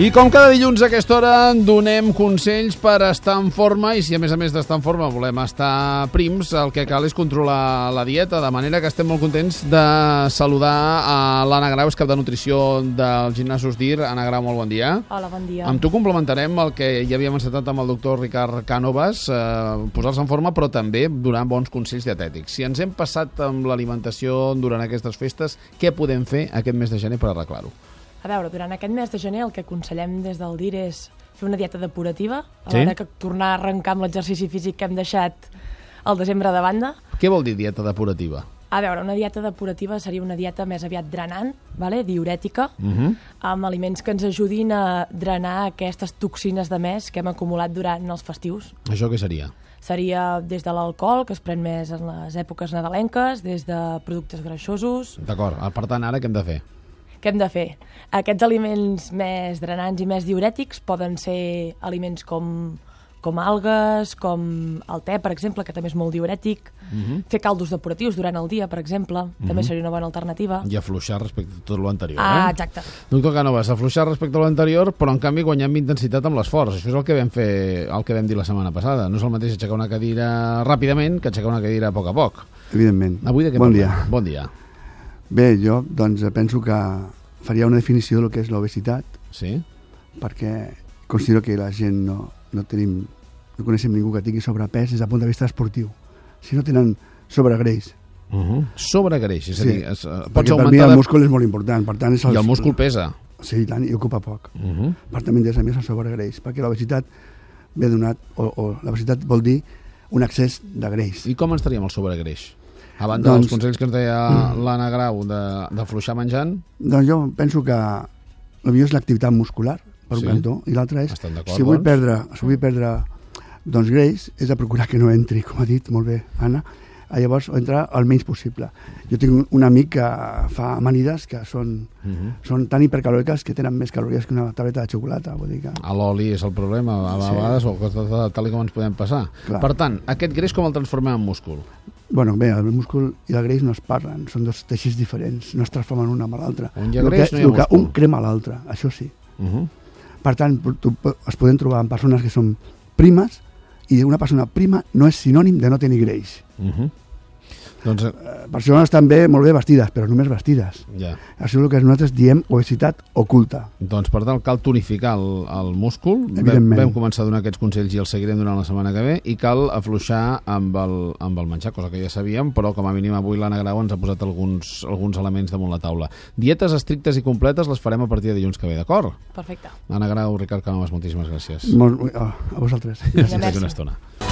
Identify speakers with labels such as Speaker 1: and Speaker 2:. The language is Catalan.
Speaker 1: I com cada dilluns a aquesta hora donem consells per estar en forma i si a més a més d'estar en forma volem estar prims, el que cal és controlar la dieta, de manera que estem molt contents de saludar a l'Anna Grau, és cap de nutrició del gimnasos DIR. Anna Grau, molt bon dia.
Speaker 2: Hola, bon dia.
Speaker 1: Amb tu complementarem el que ja havíem encetat amb el doctor Ricard Cànovas, eh, posar-se en forma però també donar bons consells dietètics. Si ens hem passat amb l'alimentació durant aquestes festes, què podem fer aquest mes de gener per arreglar-ho?
Speaker 2: A veure, durant aquest mes de gener el que aconsellem des del DIR és fer una dieta depurativa, a
Speaker 1: Sí.
Speaker 2: l'hora que tornar a arrencar amb l'exercici físic que hem deixat al desembre de banda.
Speaker 1: Què vol dir dieta depurativa?
Speaker 2: A veure, una dieta depurativa seria una dieta més aviat drenant, vale? diurètica, amb aliments que ens ajudin a drenar aquestes toxines de més que hem acumulat durant els festius.
Speaker 1: Això què seria?
Speaker 2: Seria des de l'alcohol, que es pren més en les èpoques nadalenques, des de productes greixosos,
Speaker 1: D'acord, ah, per tant, ara què hem de fer?
Speaker 2: Què hem de fer? Aquests aliments més drenants i més diurètics poden ser aliments com, com algues, com el te, per exemple, que també és molt diurètic. Fer caldos depuratius durant el dia, per exemple, també seria una bona alternativa.
Speaker 1: I afluixar respecte a tot l'anterior,
Speaker 2: Ah,
Speaker 1: eh?
Speaker 2: exacte.
Speaker 1: Doctor Canovas, afluixar respecte a l'anterior, però en canvi guanyant intensitat amb l'esforç. Això és el que vam fer, el que vam dir la setmana passada. No és el mateix aixecar una cadira ràpidament que aixecar una cadira a poc a poc.
Speaker 3: Evidentment.
Speaker 1: Avui de què
Speaker 3: bon
Speaker 1: parlem?
Speaker 3: dia.
Speaker 1: Bon dia.
Speaker 3: Bé, jo doncs, penso que faria una definició del que és l'obesitat,
Speaker 1: Sí?
Speaker 3: perquè considero que la gent no, no tenim, no coneixem ningú que tingui sobrepès des del punt de vista esportiu. Si no tenen sobregreix.
Speaker 1: Uh -huh. Sobregreix, és a
Speaker 3: Sí,
Speaker 1: dir, es, eh, pots
Speaker 3: Perquè per mi
Speaker 1: augmentar...
Speaker 3: el
Speaker 1: de-
Speaker 3: múscul és molt important. Per tant, és
Speaker 1: I el múscul pesa.
Speaker 3: Sí, i tant, i ocupa poc.
Speaker 1: Uh -huh.
Speaker 3: Per tant, m'interessa més el sobregreix, perquè l'obesitat ve donat, o, o l'obesitat vol dir un excés de greix.
Speaker 1: I com ens traiem el sobregreix? A banda doncs...
Speaker 3: Doncs-
Speaker 1: dels consells que ens deia l'Anna Grau de- d'afluixar menjant,
Speaker 3: Doncs jo penso que el millor és l'activitat muscular, per
Speaker 1: Sí.
Speaker 3: un cantó, i l'altra és,
Speaker 1: Estem d'acord,
Speaker 3: si vull
Speaker 1: doncs?
Speaker 3: perdre, si vull perdre doncs greix, és de procurar que no entri, com ha dit molt bé Anna, a llavors entrar el menys possible. Jo tinc un, un amic que fa amanides que són, són tan hipercalòriques que tenen més calories que una tauleta de xocolata, vull dir que...
Speaker 1: a l'oli és el problema, a
Speaker 3: Sí.
Speaker 1: vegades, o coses de- tal i com ens podem passar.
Speaker 3: Clar.
Speaker 1: Per tant, aquest greix com el transformem en múscul?
Speaker 3: Bueno, bé, el múscul i la greix no es parlen, són dos teixits diferents, no es transformen un amb l'altre.
Speaker 1: On hi ha
Speaker 3: El que-
Speaker 1: greix, no hi ha
Speaker 3: el que
Speaker 1: múscul.
Speaker 3: Un crema l'altre, això sí.
Speaker 1: Uh -huh.
Speaker 3: Per tant, tu, es poden trobar en persones que són primes i una persona prima no és sinònim de no tenir greix.
Speaker 1: Uh -huh. Doncs, eh,
Speaker 3: Eh, Persones també molt bé vestides, però només vestides.
Speaker 1: ja.
Speaker 3: Això és el que nosaltres diem obesitat oculta.
Speaker 1: doncs per tant, cal tonificar el, el múscul. Vam,
Speaker 3: Evidentment.
Speaker 1: vam començar a donar aquests consells i els seguirem durant la setmana que ve. I cal afluixar amb el, amb el menjar, cosa que ja sabíem, però com a mínim avui l'Anna Grau ens ha posat alguns, alguns elements damunt la taula. Dietes estrictes i completes les farem a partir de dilluns que ve, d'acord?
Speaker 2: Perfecte.
Speaker 1: Ana Grau, Ricard Canomas, moltíssimes gràcies.
Speaker 3: Molt, oh, a vosaltres.
Speaker 1: Gràcies.
Speaker 2: Merci.
Speaker 1: Una estona.